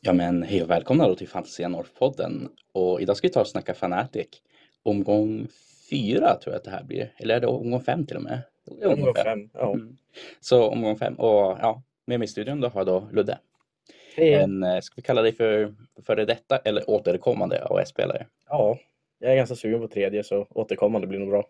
Ja men hej och välkomna då till Fantasia North-podden. Och idag ska vi ta och snacka Fanatic. Omgång fyra tror jag att det här blir. Eller är det omgång fem till och med? Jo, det är Omgång fem. Ja. Mm. Så omgång fem. Och ja, med mig i studion då har jag då Ludde. Hej. En, eh, ska vi kalla dig för före detta eller återkommande AS-spelare? ja, jag är ganska sugen på tredje så återkommande blir nog bra.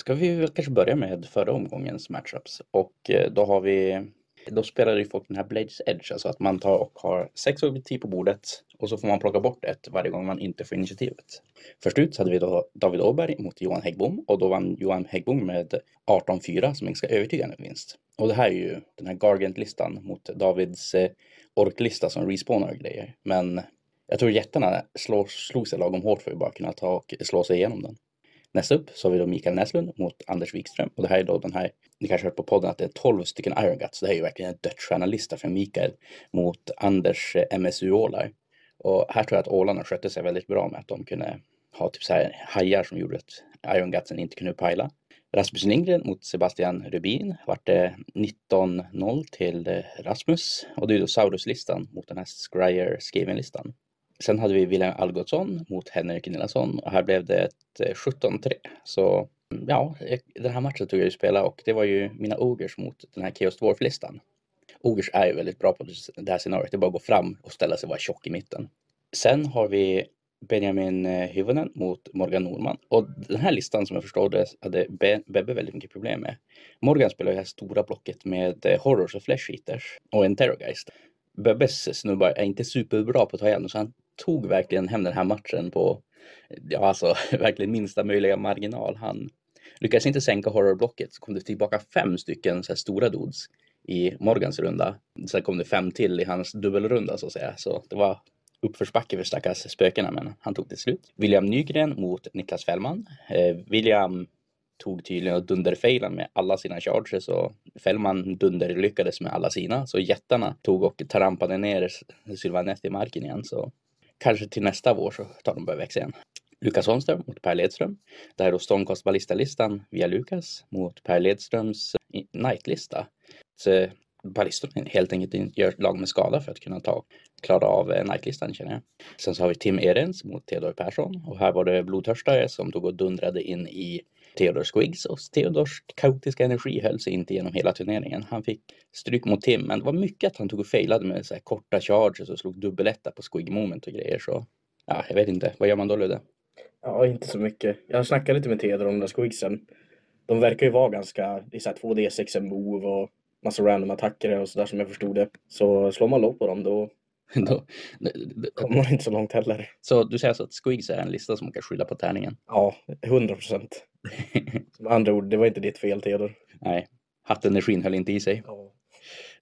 Ska vi väl kanske börja med förra omgångens matchups. Och eh, då har vi då spelar ju folk den här Blades Edge, alltså att man tar och har sex objektiv på bordet och så får man plocka bort ett varje gång man inte får initiativet. Först ut så hade vi då David Åberg mot Johan Häggbom och då vann Johan Häggbom med 18-4 som en ganska övertygande vinst. Och det här är ju den här Gargant-listan mot Davids eh, orklista som respawnar och grejer. Men jag tror jättarna slår, slog sig lagom hårt för att bara kunna ta och slå sig igenom den. Nästa upp så har vi då Mikael Näslund mot Anders Wikström. Och det här är då den här, ni kanske har hört på podden att det är 12 stycken Iron Guts. Det här är ju verkligen en dödsstjärnalista för Mikael mot Anders eh, MSU Ålar. Och här tror jag att Ålarna skötte sig väldigt bra med att de kunde ha typ så här hajar som gjorde att Iron Gutsen inte kunde pajla. Rasmus Lindgren mot Sebastian Rubin vart det 19-0 till eh, Rasmus. Och det är ju då Saurus-listan mot den här Scryer Skaven-listan. Sen hade vi William Algotsson mot Henrik Nilsson och här blev det ett eh, 17-3. Så mm, ja, eh, den här matchen tog jag ju spela och det var ju mina Ogers mot den här Chaos Dwarf-listan. Ogers är ju väldigt bra på det här scenariot. Det är bara att gå fram och ställa sig och vara tjock i mitten. Sen har vi Benjamin eh, Hyvönen mot Morgan Norman. Och den här listan som jag förstår det hade Be- Bebbe väldigt mycket problem med. Morgan spelar ju det här stora blocket med eh, Horrors och Flesh Eaters och en Terrorgeist. Bebbes snubbar är inte superbra på att ta igen så han tog verkligen hem den här matchen på ja, alltså, verkligen minsta möjliga marginal. Han lyckades inte sänka horrorblocket så kom det tillbaka fem stycken så här stora dudes i Morgans runda. Sen kom det fem till i hans dubbelrunda så att säga. Så det var uppförsbacke för stackars spökena men han tog det slut. William Nygren mot Niklas Fällman. Eh, William tog tydligen och dunderfailan med alla sina charges och Fällman dunderlyckades med alla sina. Så jättarna tog och trampade ner Sylvanett i marken igen. Så kanske till nästa vår så tar de börja växa igen. Lukas Holmström mot Per Ledström. Det här är då Stormcast Ballista-listan via Lukas mot Per Ledströms i- Knight-lista. Så eh, Ballistorna helt enkelt inte gör lag med skada för att kunna ta, klara av eh, Knight-listan känner jag. Sen så har vi Tim Ehrens mot Theodor Persson och här var det Blodtörstare som tog och dundrade in i Theodor Squiggs och Theodors kaotiska energi höll sig inte genom hela turneringen. Han fick stryk mot Tim, men det var mycket att han tog och failade med så här korta charges och slog dubbeletta på Squig moment och grejer. Så ja, jag vet inte, vad gör man då Ludde? Ja, inte så mycket. Jag snackade lite med Teder om de där squigsen. De verkar ju vara ganska, i så här 2D6 move och massa random attacker och sådär som jag förstod det. Så slår man låg på dem då Då- kommer man inte så långt heller. så du säger alltså att Squiggs är en lista som man kan skylla på tärningen? Ja, 100 procent. Med andra ord, det var inte ditt fel Teder. Nej, hattenergin höll inte i sig. Ja.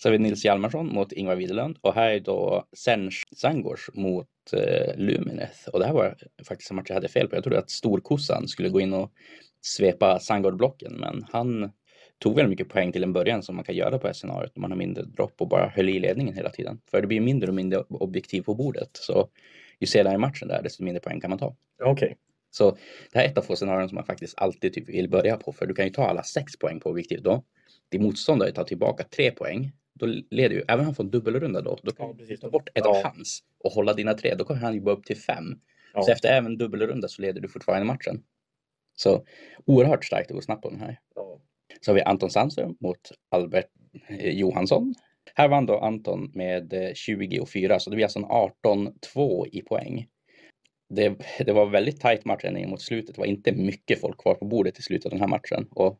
Så har vi Nils Hjalmarsson mot Ingvar Widerlund och här är då Serge Sangors mot eh, Lumineth. Och det här var faktiskt en match jag hade fel på. Jag trodde att storkossan skulle gå in och svepa Sangor-blocken, men han tog väl mycket poäng till en början som man kan göra på det här scenariot när man har mindre dropp och bara höll i ledningen hela tiden. För det blir mindre och mindre objektiv på bordet. Så ju senare i matchen där, desto mindre poäng kan man ta. Okej. Så det här är ett av få scenarion som man faktiskt alltid typ vill börja på. För du kan ju ta alla sex poäng på objektiv då. Din motståndare tar tillbaka tre poäng. Då leder ju, även om han får en dubbelrunda då, då kan Ja, du precis. ta bort ett Ja. av hans och hålla dina tre. Då kommer han ju bara upp till fem. Ja. Så efter även dubbelrunda så leder du fortfarande matchen. Så oerhört starkt att gå snabbt på den här. Ja. Så har vi Anton Sandström mot Albert eh, Johansson. Här vann då Anton med eh, 20 och 4, så det blir alltså en 18-2 i poäng. Det, det var väldigt tajt match ända in mot slutet. Det var inte mycket folk kvar på bordet i slutet av den här matchen. Och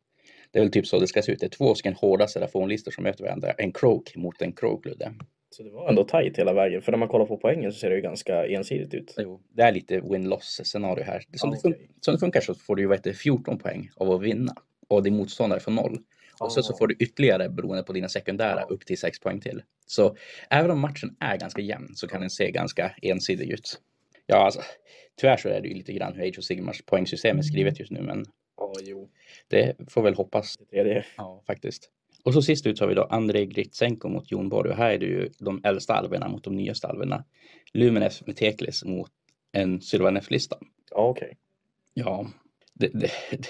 det är väl typ så det ska se ut. Det är två stycken hårda serafonlistor som möter varandra. En Croak mot en Croak, Ludde. Så det var ändå tajt hela vägen. För när man kollar på poängen så ser det ju ganska ensidigt ut. Jo, det är lite win-loss scenario här. Som, Ja, det, fun- okej. som det funkar så får du ju vad heter det, 14 poäng av att vinna och din motståndare får noll. Och sen så Ah. får du ytterligare beroende på dina sekundära Ja. upp till 6 poäng till. Så även om matchen är ganska jämn så kan den se ganska ensidig ut. Ja, alltså, tyvärr så är det ju lite grann hur Age of Sigmars poängsystem är skrivet just nu, men Ja, jo. det får väl hoppas Det tredje. Ja, faktiskt. Och så sist ut så har vi då Andrei Gritsenko mot Jon Borg. Och här är det ju de äldsta alverna mot de nyaste alverna. Lumenef med Teklis mot en Sylvanef-lista. Ja, okej. Ja, det, det, det-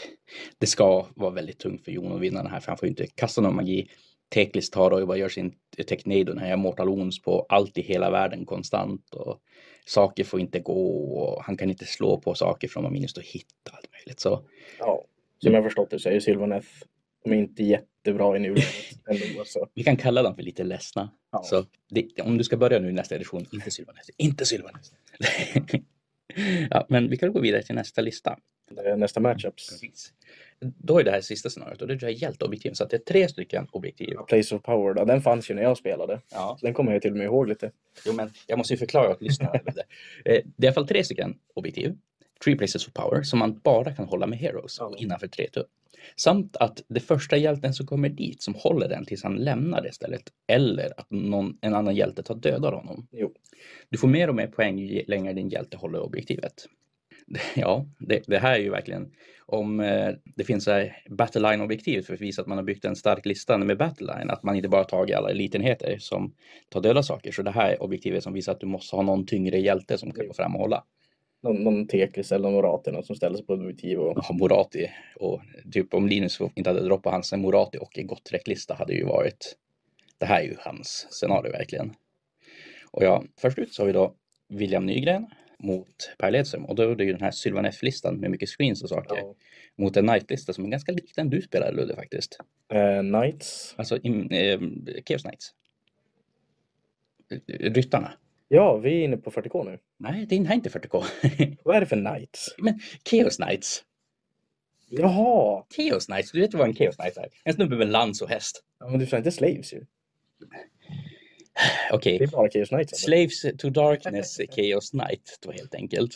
det ska vara väldigt tungt för Jon att vinna den här för han får ju inte kasta någon magi. Teklis tar och bara gör sin teknado när jag Mortal Ons på allt i hela världen konstant och saker får inte gå och han kan inte slå på saker från man minst och hitta allt möjligt. Så Ja, som jag förstått det så är ju Sylvaneth de är inte jättebra i nuläget ändå. Så. vi kan kalla dem för lite ledsna. Ja. Så det, om du ska börja nu i nästa edition, inte Sylvanes, inte Sylvanes. ja, men vi kan gå vidare till nästa lista. Eh, Nästa matchups. Precis. Då är det här sista scenariot och det är hjälteobjektiv. Så att det är tre stycken objektiv. Place of Power, då, den fanns ju när jag spelade. Ja. Så den kommer jag till och med ihåg lite. Jo, men jag måste ju förklara åt lyssnarna. lite. Eh, det är i alla fall tre stycken objektiv. Three places of power som man bara kan hålla med heroes och Ja. innanför tre tum. Samt att det första hjälten som kommer dit som håller den tills han lämnar det stället. Eller att någon, en annan hjälte tar död av honom. Jo. Du får mer och mer poäng ju längre din hjälte håller objektivet. Ja, det, det här är ju verkligen om eh, det finns så här battleline objektivet för att visa att man har byggt en stark lista med battleline. Att man inte bara tagit alla elitenheter som tar döda saker. Så det här är objektivet som visar att du måste ha någon tyngre hjälte som kan gå fram och hålla. Någon, någon Teklis eller någon Raterna som ställer sig på ett motiv och Ja, Morati och typ om Linus inte hade droppat hans Morati och en gotträcklista hade ju varit. Det här är ju hans scenario verkligen. Och ja, först ut så har vi då William Nygren mot Per Ledström och då är det ju den här Sylvan F-listan med mycket screens och saker ja. mot en Knight-lista som är ganska lik den du spelar Ludde faktiskt. eh, Knights. Alltså im- ehm, Chaos Knights. Ryttarna. Ja, vi är inne på 40k nu. Nej, det är inte 40K. Vad är det för Knights? Chaos Knights. Jaha! Chaos Knights, du vet vad en Chaos Knight är? En snubbe med lans och häst. Ja, men du sa inte Slaves ju. Okej. Det är bara Chaos Knights. eller? Slaves to Darkness, Chaos Knight då helt enkelt.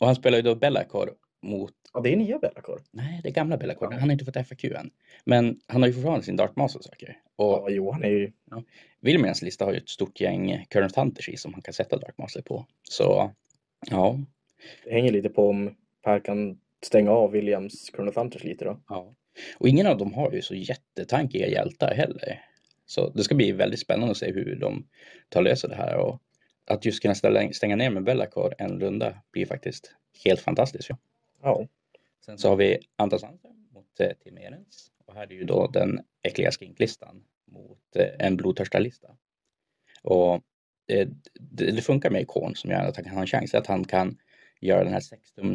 Och han spelar ju då Bellacor mot, Ja, det är nya Bellacor. nej det är gamla Bellacor, han har inte fått FAQ än. Men han har ju fortfarande sin Dark Master söker. Och Ja, jo, han är ju... Wilhelmians lista har ju ett stort gäng Current Hunters i som han kan sätta Dark Master på. Så ja. Det hänger lite på om Per kan stänga av Williams Colonel Hunters lite då. ja. Och ingen av dem har ju så jättetankiga hjältar heller. Så det ska bli väldigt spännande att se hur de tar lösa det här. Och att just kunna ställa, stänga ner med Bellacor en runda blir faktiskt helt fantastiskt. Ja. Ja. Sen så har vi Antas Hansen mot eh, Tim Ehrens. Och här är ju då den äckliga skinklistan mot eh, en blodtörstarlista. Och eh, det, det funkar med ikon som gör att han kan ha en chans att han kan göra den här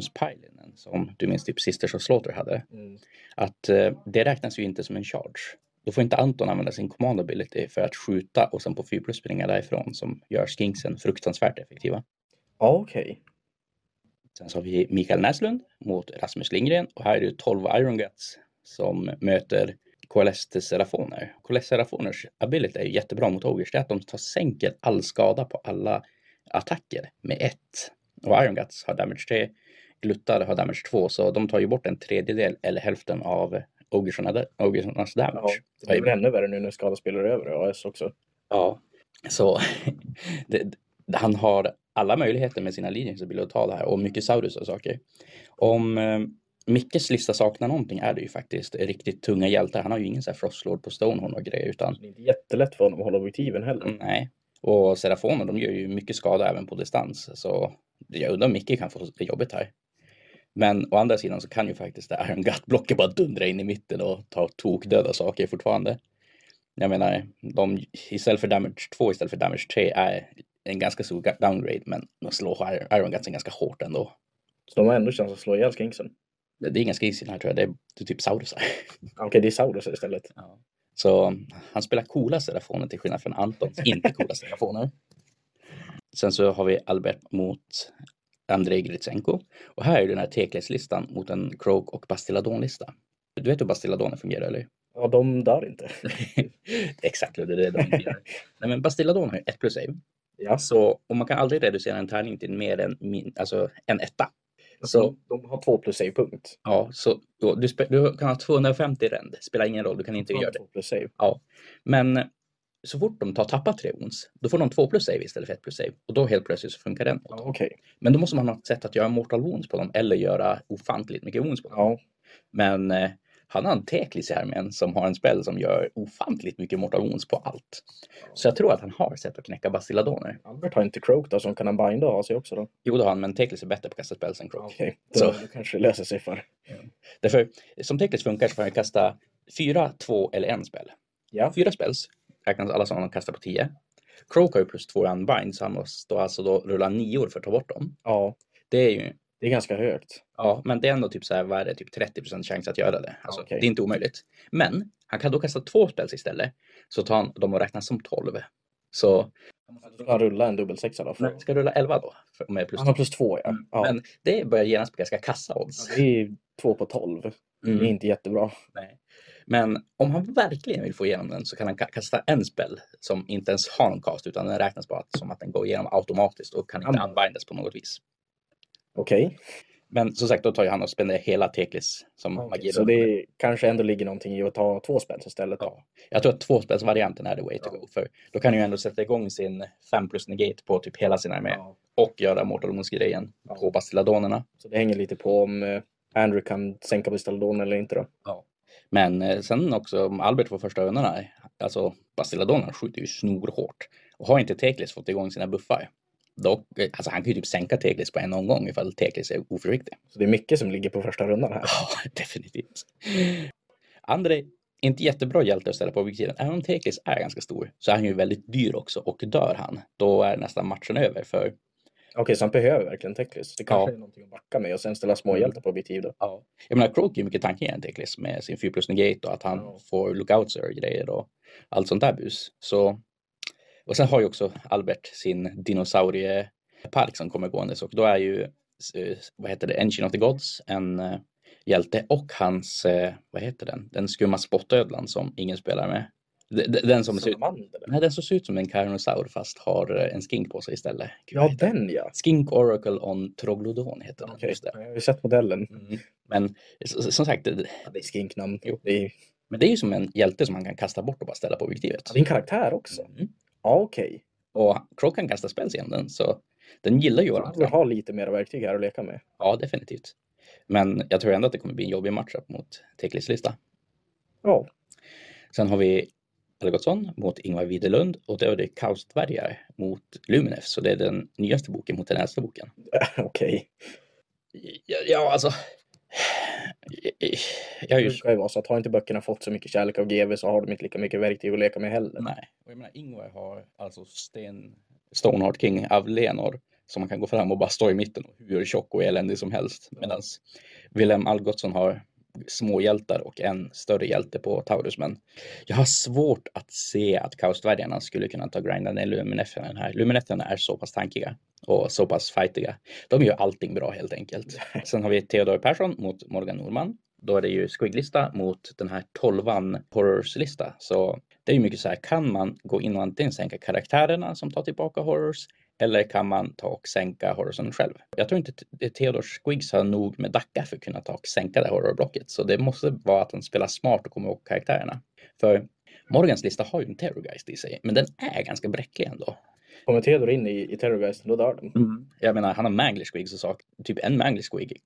sextumspilinen som du minns typ Sisters of Slaughter hade. Mm. Att eh, det räknas ju inte som en charge. Då får inte Anton använda sin command ability för att skjuta och sen på 4 plus springa därifrån som gör skinksen fruktansvärt effektiva. Ja, okej. Sen så har vi Mikael Näslund mot Rasmus Lindgren och här är det 12 Iron Guts som möter KLS Serafoner. KLS Serafoners ability är ju jättebra mot Ogers, det är att de tar sänker all skada på alla attacker med ett. Och Iron Guts har damage 3, Gluttar har damage 2, så de tar ju bort en tredjedel eller hälften av Ogerserna- Ogersernas damage. Ja, det blir väl ännu värre nu när skada spelar över och AS också. Ja, så det, det- han har alla möjligheter med sina linjer som vill ta det här och mycket Saurus och saker. Om eh, Mickes lista saknar någonting är det ju faktiskt riktigt tunga hjältar. Han har ju ingen så här Frostlord på Stonehorn och grejer utan Det är inte jättelätt för honom att hålla objektiven heller. nej. Och Serafoner de gör ju mycket skada även på distans så jag undrar om Micke kan få det jobbigt här. Men å andra sidan så kan ju faktiskt det här en gattblocket bara dundra in i mitten och ta tokdöda saker fortfarande. Jag menar, de, istället för damage 2 istället för damage 3 är en ganska stor ga- downgrade, men de slår Iron- Iron Gutsen ganska hårt ändå. Så de har ändå chans att slå ihjäl Skinksen. Det det är ganska easy den här tror jag, det är, det är typ Saurusar. Ja, Okej, det är Saurus istället. Så han spelar coola serafoner till skillnad från Antons inte coola serafoner. Sen så har vi Albert mot Andrei Gritsenko. Och här är den här Tekles-listan mot en Croak och Bastiladon-lista. Du vet hur Bastiladoner fungerar, eller? Ja, de dör inte. Exakt, det är det de inte gör. Nej, men Bastiladon har ju ett plus save. Ja. Så, och man kan aldrig reducera en tärning till mer än min, alltså, en etta. Så, Alltså, De har två plus save punkt. ja, så då, du, spe, du kan ha 250 rend, spelar ingen roll, du kan inte De har göra det. Två plus save. Men så fort de tar tappat tre ons, då får de två plus save istället för ett plus save. Och då helt plötsligt så funkar den. Ja, Okej. Men då måste man ha ett sätt att göra mortal wounds på dem eller göra ofantligt mycket wounds på dem. Ja. Men eh, han har en teklis i härmen som har en spel som gör ofantligt mycket mortal wounds på allt. Så jag tror att han har ett sätt att knäcka bastilladoner. Albert har inte Croak då, som kan han binda och ha sig också då. Jo, det har han, men teklis är bättre på att kasta spel än Croak. Okej, Så. då, då kanske det löser sig för. Därför, som teklis funkar så får han kasta fyra, två eller en spel. Ja. Fyra spells räknas alla som om de kastar på 10. Croak har ju plus 2 i unbind så han måste alltså då rulla nior för att ta bort dem. Ja, Det är ju, det är ganska högt. ja, men det är ändå typ så här, vad är det, typ 30 chans att göra det. Alltså, Okej. Det är inte omöjligt. Men han kan då kasta två spells istället så tar han dem och räknas som 12. Så Då ska han rulla en dubbelsexa då. För... han ska rulla 11 då, för, med plus Han har plus två, Mm. ja. ja. Men det börjar genast bli ganska kassa odds. Det är ju två på tolv. Det är Mm. inte jättebra. Men om han verkligen vill få igenom den så kan han ka- kasta en spel som inte ens har någon cast utan den räknas bara som att den går igenom automatiskt och kan inte Am- användas på något vis. Okej. Men som sagt, då tar ju han och spenderar hela Teklis som magi. Så det kanske ändå ligger någonting i att ta två spänn istället. Ja. Jag tror att tvåspelsvarianten är the way to Ja. go. För då kan han ju ändå sätta igång sin 5 plus negate på typ hela sin armé Ja. och göra Mortal Wounds-grejen Ja. på Bastiladonerna. Så det hänger lite på om eh, Andrew kan sänka Bistalodon eller inte då. Men eh, sen också om Albert får första ögonen, alltså Bastiladonerna skjuter ju snorhårt. Och har inte Teklis fått igång sina buffar, då, eh, alltså han kan ju typ sänka Teklis på en omgång ifall Teklis är oförsiktig. Så det är mycket som ligger på första rundan här. Ja, definitivt. Andrei, inte jättebra hjälte att ställa på objektiven. Även om Teklis är ganska stor så är han ju väldigt dyr också och dör han, då är nästan matchen över. För Okej, så han behöver verkligen Teklis. Det kanske Ja. Mm. är någonting att backa med och sen ställa småhjältar på objektiv då. ja. jag menar, Croak är ju mycket tanken igen Teklis med sin 4 plus negate och att han Ja. får lookouts och grejer och allt sånt där bus. Så... Och sen har ju också Albert sin dinosauriepark som kommer gåendes och då är ju, eh, vad heter det, Engine of the Gods, en eh, hjälte och hans, eh, vad heter den, den skumma spottödlan som ingen spelar med. D- d- Den som, ser ut, Salamander. nej, den som ser ut som en karnosaur fast har eh, en skink på sig istället. Gud, vad Ja, heter den? den ja. Skink Oracle on Troglodon heter den. Okej, Just det. jag har ju sett modellen. Mm. Men s- s- som sagt, det- Ja, det är skinknamn. Jo. Det är, men det är ju som en hjälte som man kan kasta bort och bara ställa på objektivet. ja, det är en karaktär också. Mm. Ja, okej. Och Croc kan kasta spells igen den, så den gillar ju Så varandra. Andrew har lite mer verktyg här att leka med. Ja, definitivt. Men jag tror ändå att det kommer bli en jobbig matchup mot Teklis lista. Ja, Sen har vi Algotsson mot Ingvar Widerlund och då är det Kaosdvärgar mot Luminef, så det är den nyaste boken mot den äldsta boken. okej. Ja, ja alltså. Jag är Det ju brukar ju vara så att har inte böckerna fått så mycket kärlek av GV så har de inte lika mycket verktyg att leka med heller. Nej, och jag menar Ingvar har alltså Sten Stoneheart King av Lenor som man kan gå fram och bara stå i mitten och hur tjock och eländig som helst. Ja. Medan Wilhelm Algotsson har små hjältar och en större hjälte på Taurus. Men jag har svårt att se att Kaosdvärgarna skulle kunna ta grinda ner Luminefferna här. Luminefferna är så pass tankiga och så pass fightiga. De gör allting bra helt enkelt. Sen har vi Theodor Persson mot Morgan Norman. Då är det ju squigglista mot den här tolvan horrorslista. Så det är ju mycket så här, kan man gå in och antingen sänka karaktärerna som tar tillbaka horrors eller kan man ta och sänka horrorsen själv? Jag tror inte Te- Theodor Squiggs har nog med Dacca för att kunna ta och sänka det här horrorblocket. Så det måste vara att han spelar smart och kommer ihåg karaktärerna. För Morgans lista har ju en Terrorgeist i sig, men den är ganska bräcklig ändå. Kommer Theodor in i, i Terrorgeisten, då dör den. Mm. Jag menar, han har Mangler Squig så sak, typ en Mangler Squig,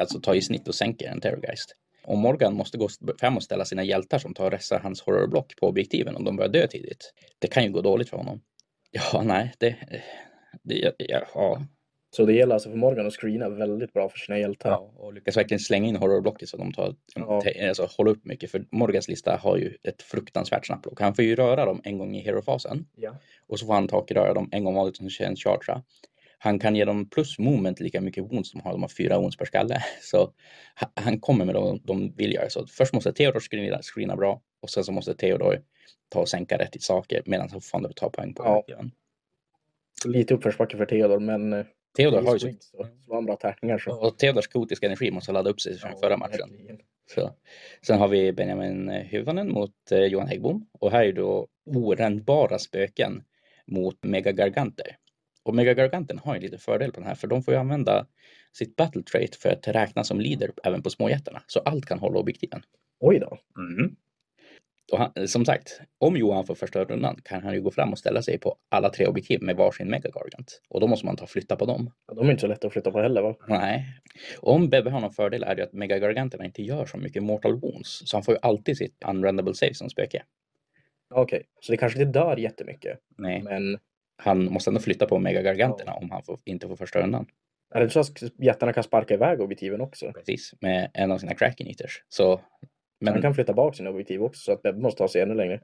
alltså tar i snitt och sänker en Terrorgeist. Och Morgan måste gå fram och ställa sina hjältar som tar resta hans horrorblock på objektiven om de börjar dö tidigt. Det kan ju gå dåligt för honom. Ja, nej, det... det ja, ja. Så det gäller alltså för Morgan att screena väldigt bra för sina hjältar. ja, och lyckas verkligen slänga in horrorblocket så de tar, Ja. te- alltså, håller upp mycket. För Morgans lista har ju ett fruktansvärt snabbt block. Han får ju röra dem en gång i herofasen. Ja. Och så får han ta och röra dem en gång vanligt som en chartra. Han kan ge dem plus moment lika mycket wounds som har. De har fyra wounds per skalle. Så ha- han kommer med dem de vill göra. Så först måste Theodor screena, screena bra och sen så måste Theodor ta och sänka rätt i saker medan han fortfarande tar poäng på Ja. den. Lite uppförsbacke för Theodor, men eh, Theodor har ju så, Squeaks, så slår han bra tärningar så. och Theodors kaotiska energi måste ladda upp sig från förra matchen. verkligen. Så. Sen har vi Benjamin Hyvonen mot eh, Johan Häggbom. Och här är då orändbara spöken mot megagarganter. Och megagarganten har ju lite fördel på den här för de får ju använda sitt battle trait för att räknas som leader även på småjättarna. Så allt kan hålla objektiven. Oj då. Och han, som sagt, om Johan får första rundan kan han ju gå fram och ställa sig på alla tre objektiv med varsin megagargant. Och då måste man ta och flytta på dem. Ja, de är inte så lätta att flytta på heller va? Nej. Och om Bebbe har någon fördel är det ju att megagarganterna inte gör så mycket mortal wounds. Så han får ju alltid sitt unrendable save som spöke. Okej, så det kanske inte dör jättemycket. Nej. Men Han måste ändå flytta på megagarganterna om han får, inte får första rundan. är det så att jättarna kan sparka iväg objektiven också? Precis. Med en av sina kraken eaters. Så Han Men kan flytta bak sina objektiv också så att Bebbe måste ta sig ännu längre.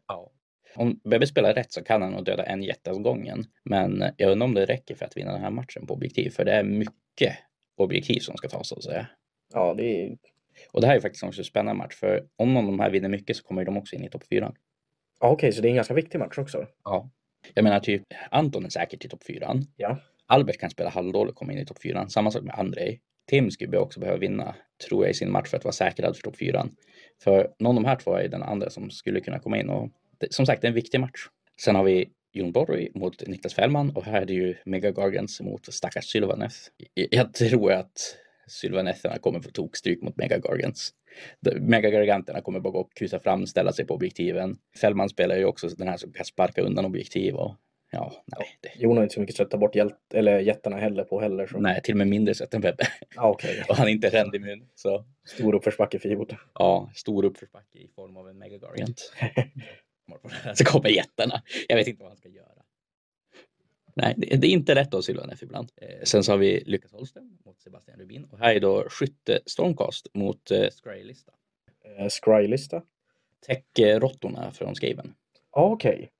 om Bebbe spelar rätt så kan han nog döda en jätte åt gången. Men jag undrar om det räcker för att vinna den här matchen på objektiv. För det är mycket objektiv som ska tas så att säga. Ja, det är... Och det här är faktiskt också en spännande match. För om någon av de här vinner mycket så kommer ju de också in i topp fyran. ja, okej, så det är en ganska viktig match också. Ja. Jag menar typ Anton är säkert i topp fyran. Ja. Albert kan spela halvdåligt och komma in i topp fyran. Samma sak med Andrei. Tim skulle också behöva vinna, tror jag, i sin match för att vara säkrad för topp fyran. För någon av de här två är den andra som skulle kunna komma in och det, som sagt, det är en viktig match. Sen har vi Jon Borg mot Niklas Fällman och här är det ju Mega Gargans mot stackars Sylvaneth. Jag- Jag tror att Sylvanetherna kommer få tokstryk mot Mega Gargans. De- Megagarganterna kommer bara gå och kusa fram, ställa sig på objektiven. Fällman spelar ju också den här som kan sparka undan objektiv och ja, nej. Det, Jon har inte så mycket sätt att ta bort hjält... eller jättarna heller på heller. Så... nej, till och med mindre sätt än Bebbe. Ja, okej. Och han är inte rendimmun. Så Stor uppförsbacke för Jota. ja, stor uppförsbacke i form av en megagargant. så kommer jättarna. Jag vet inte vad han ska göra. Nej, det det är inte lätt av Sylvan F ibland. Eh, sen så har vi Lukas Holsten mot Sebastian Rubin. Och här är då Skytte Stormcast mot eh, Scrylista. Eh, Scry-lista? Tech-råttorna från Skaven. Ja, okej.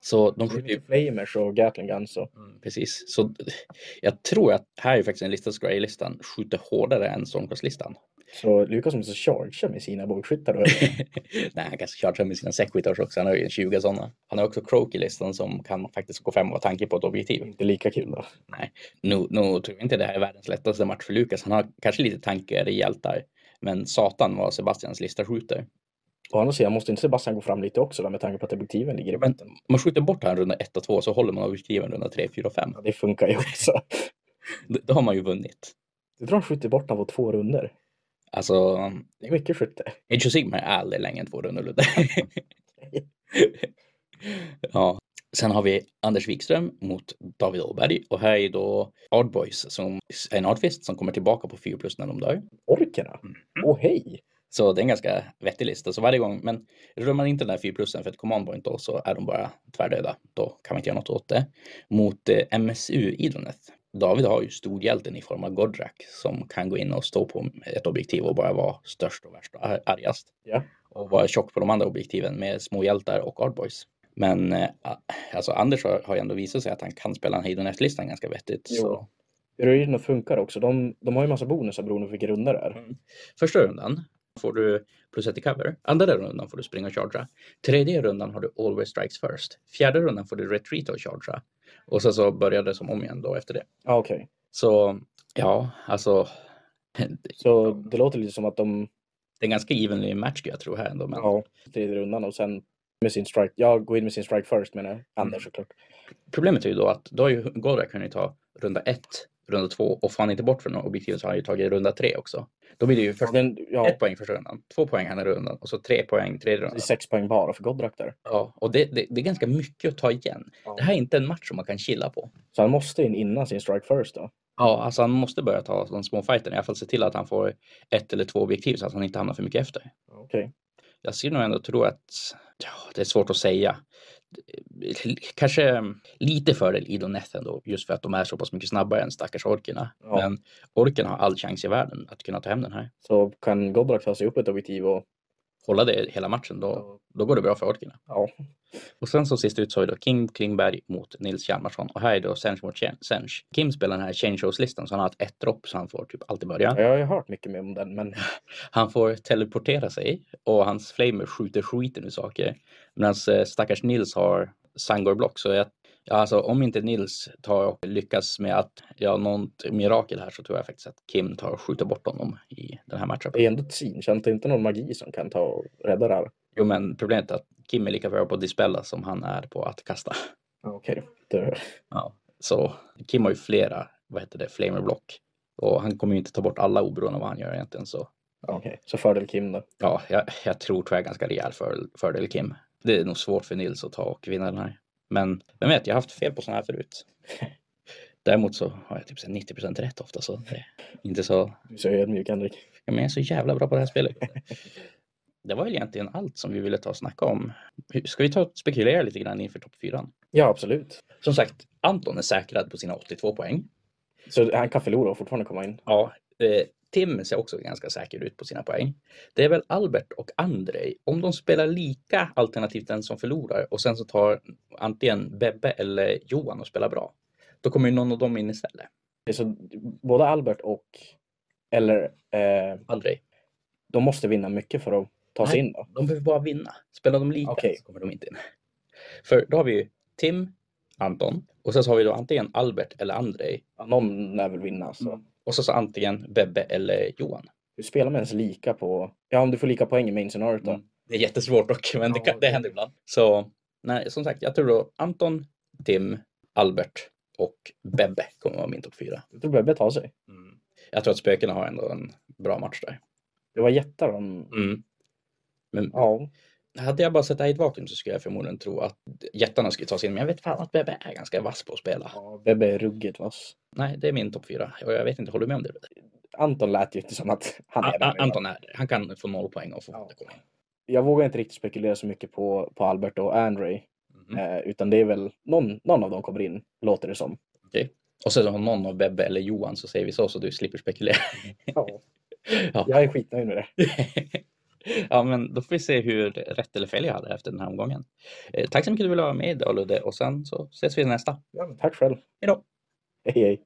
Så de Det är skjuter ju mycket Flamers och Gatling Guns och... Mm, precis. Så jag tror att här är faktiskt en lista, Scry-listan, skjuter hårdare än Stormcast-listan. Så Lukas måste chargea med sina bågskyttar då. eller? Nej, han kanske kört med sina säckskyttars också. Han har ju en 20 sådana. Han har också croak i listan som kan faktiskt gå fram och vara tanke på ett objektiv. inte lika kul då. Nu, nu tror jag inte det här är världens lättaste match för Lukas. Han har kanske lite tankar i hjältar. Men satan vad Sebastians lista skjuter. Å andra sidan måste inte Sebastian gå fram lite också då, med tanke på att objektiven ligger i Men botten. man skjuter bort han runda 1 och 2 så håller man objektiven runda 3, 4 och 5. Ja, det funkar ju också. Då, då har man ju vunnit. Du tror han skjuter bort honom på två runder. Alltså, Det är mycket skytte. Age of Sigmar är aldrig längre än två rundor Ludde. ja. Sen har vi Anders Wikström mot David Åberg och här är då Ardboys som är en Ardfist som kommer tillbaka på 4 plus när de dör. Orkerna? Mm. Åh hej! Så det är en ganska vettig lista. Så varje gång, men rullar man inte den här 4 plussen för ett command point då så är de bara tvärdöda. Då kan man inte göra något åt det. Mot eh, MSU Idoneth. David har ju storhjälten i form av Godrak som kan gå in och stå på ett objektiv och bara vara störst och värst och ar- argast. Ja. Och vara tjock på de andra objektiven med små hjältar och Ardboys. Men eh, a- alltså Anders har, har ju ändå visat sig att han kan spela den här Idoneth-listan ganska vettigt. Jo. Så. Ruinerna funkar också. De, de har ju massa bonusar beroende på vilka runda det är. Första rundan får du plus ett i cover. Andra rundan får du springa och chargea. Tredje rundan har du always strikes first. Fjärde rundan får du retreat och chargea. Och sen så börjar det som om igen då efter det. Ja, okej. Så ja, alltså. Så det låter lite som att de... Det är en ganska evenly match jag tror här ändå. Men, Ja, tredje rundan och sen med sin strike. Ja, gå in med sin strike first menar Mm. jag. Anders såklart. Problemet är ju då att då har ju Godrak kunnat ta runda ett, runda två och får han inte bort från objektivet så har han ju tagit runda tre också. Då blir det ju först Den, ja, ett poäng första rundan, två poäng andra rundan och så tre poäng tredje det rundan. är sex poäng bara för Godrak där. Ja, och det, det, det är ganska mycket att ta igen. Ja. Det här är inte en match som man kan chilla på. Så han måste in innan sin strike first då. Ja, alltså han måste börja ta de små fighterna. I alla fall se till att han får ett eller två objektiv så att han inte hamnar för mycket efter. Okej. Jag skulle nog ändå tro att ja, det är svårt att säga. Kanske lite fördel Idoneth ändå, just för att de är så pass mycket snabbare än stackars orkerna. Ja. Men orken har all chans i världen att kunna ta hem den här. Så kan Godrak ta sig upp ett objektiv och... Hålla det hela matchen, då, då går det bra för orkerna. Ja. Och sen så sist ut så är då Kim Klingberg mot Nils Hjalmarsson och här är då Sench mot Chen- Sench. Kim spelar den här Change Shows-listan så han har ett ett dropp så han får typ alltid börja. Jag har ju hört mycket mer om den, men Han får teleportera sig och hans flamer skjuter skiten ur saker. Medan eh, stackars Nils har Sangor Block. Så jag, ja, alltså, om inte Nils tar och lyckas med att göra något mirakel här så tror jag faktiskt att Kim tar och skjuter bort honom i den här matchen. det är ändå ett sin. Känns det inte någon magi som kan ta och rädda det här? Jo, men problemet är att Kim är lika bra på att dispella som han är på att kasta. Ja, Okej. Det- Ja. Så Kim har ju flera, vad heter det, flamer block. Och han kommer ju inte ta bort alla oberoende av vad han gör egentligen. Så ja, Okej. Så fördel Kim då. Ja, jag, jag tror tyvärr ganska rejäl för, fördel Kim. Det är nog svårt för Nils att ta och vinna den här. Men vem vet, jag har haft fel på sådana här förut. Däremot så har jag typ så här 90 rätt ofta så det är inte så... Du är så ödmjuk Henrik. Ja, men jag är så jävla bra på det här spelet. Det var väl egentligen allt som vi ville ta och snacka om. Hur- Ska vi ta och spekulera lite grann inför topp fyran? Ja, absolut. Som sagt, Anton är säkrad på sina 82 poäng. Så han kan förlora och fortfarande komma in. Ja, eh, Tim ser också ganska säker ut på sina poäng. Det är väl Albert och Andrej, om de spelar lika alternativt den som förlorar och sen så tar antingen Bebbe eller Johan och spelar bra. Då kommer ju någon av dem in istället. Det är så, både Albert och eller eh, Andrej, de måste vinna mycket för att ta sig in då. de behöver bara vinna. Spelar de lika Okej. så kommer de inte in. För då har vi ju Tim, Anton och sen så har vi då antingen Albert eller Andrej Ja, Någon lär väl vinna. Så. och så, så antingen Bebbe eller Johan. Hur spelar man ens lika på... Ja, om du får lika poäng i main scenariot då. Mm. Det är jättesvårt dock, men det, Ja, kan, det det- händer ibland. Så nej, som sagt, jag tror då Anton, Tim, Albert och Bebbe kommer vara min topp fyra. Jag tror Bebbe tar sig. Jag tror att spökena har ändå en bra match där. Det var jättar de... Men Ja. hade jag bara sett det här i ett vakuum så skulle jag förmodligen tro att jättarna skulle ta sig in. Men jag vet fan att Bebbe är ganska vass på att spela. ja. Bebbe är ruggigt vass. Nej, det är min topp fyra. Och jag vet inte, håller du med om det? Anton lät ju inte som att han är A- där A- nu. Anton är det. Han kan få noll poäng och få Ja. komma in. Jag vågar inte riktigt spekulera så mycket på, på Albert och Andrej. Mm. Eh, utan det är väl någon, någon av dem kommer in, låter det som. Och sen har någon av Bebbe eller Johan så säger vi så, så du slipper spekulera. Ja. Ja. Jag är skitnöjd med det. ja, men då får vi se hur rätt eller fel jag hade efter den här omgången. Eh, tack så mycket för att du ville vara med idag Ludde och sen så ses vi i nästa. Tack själv. Hejdå. Hej hej.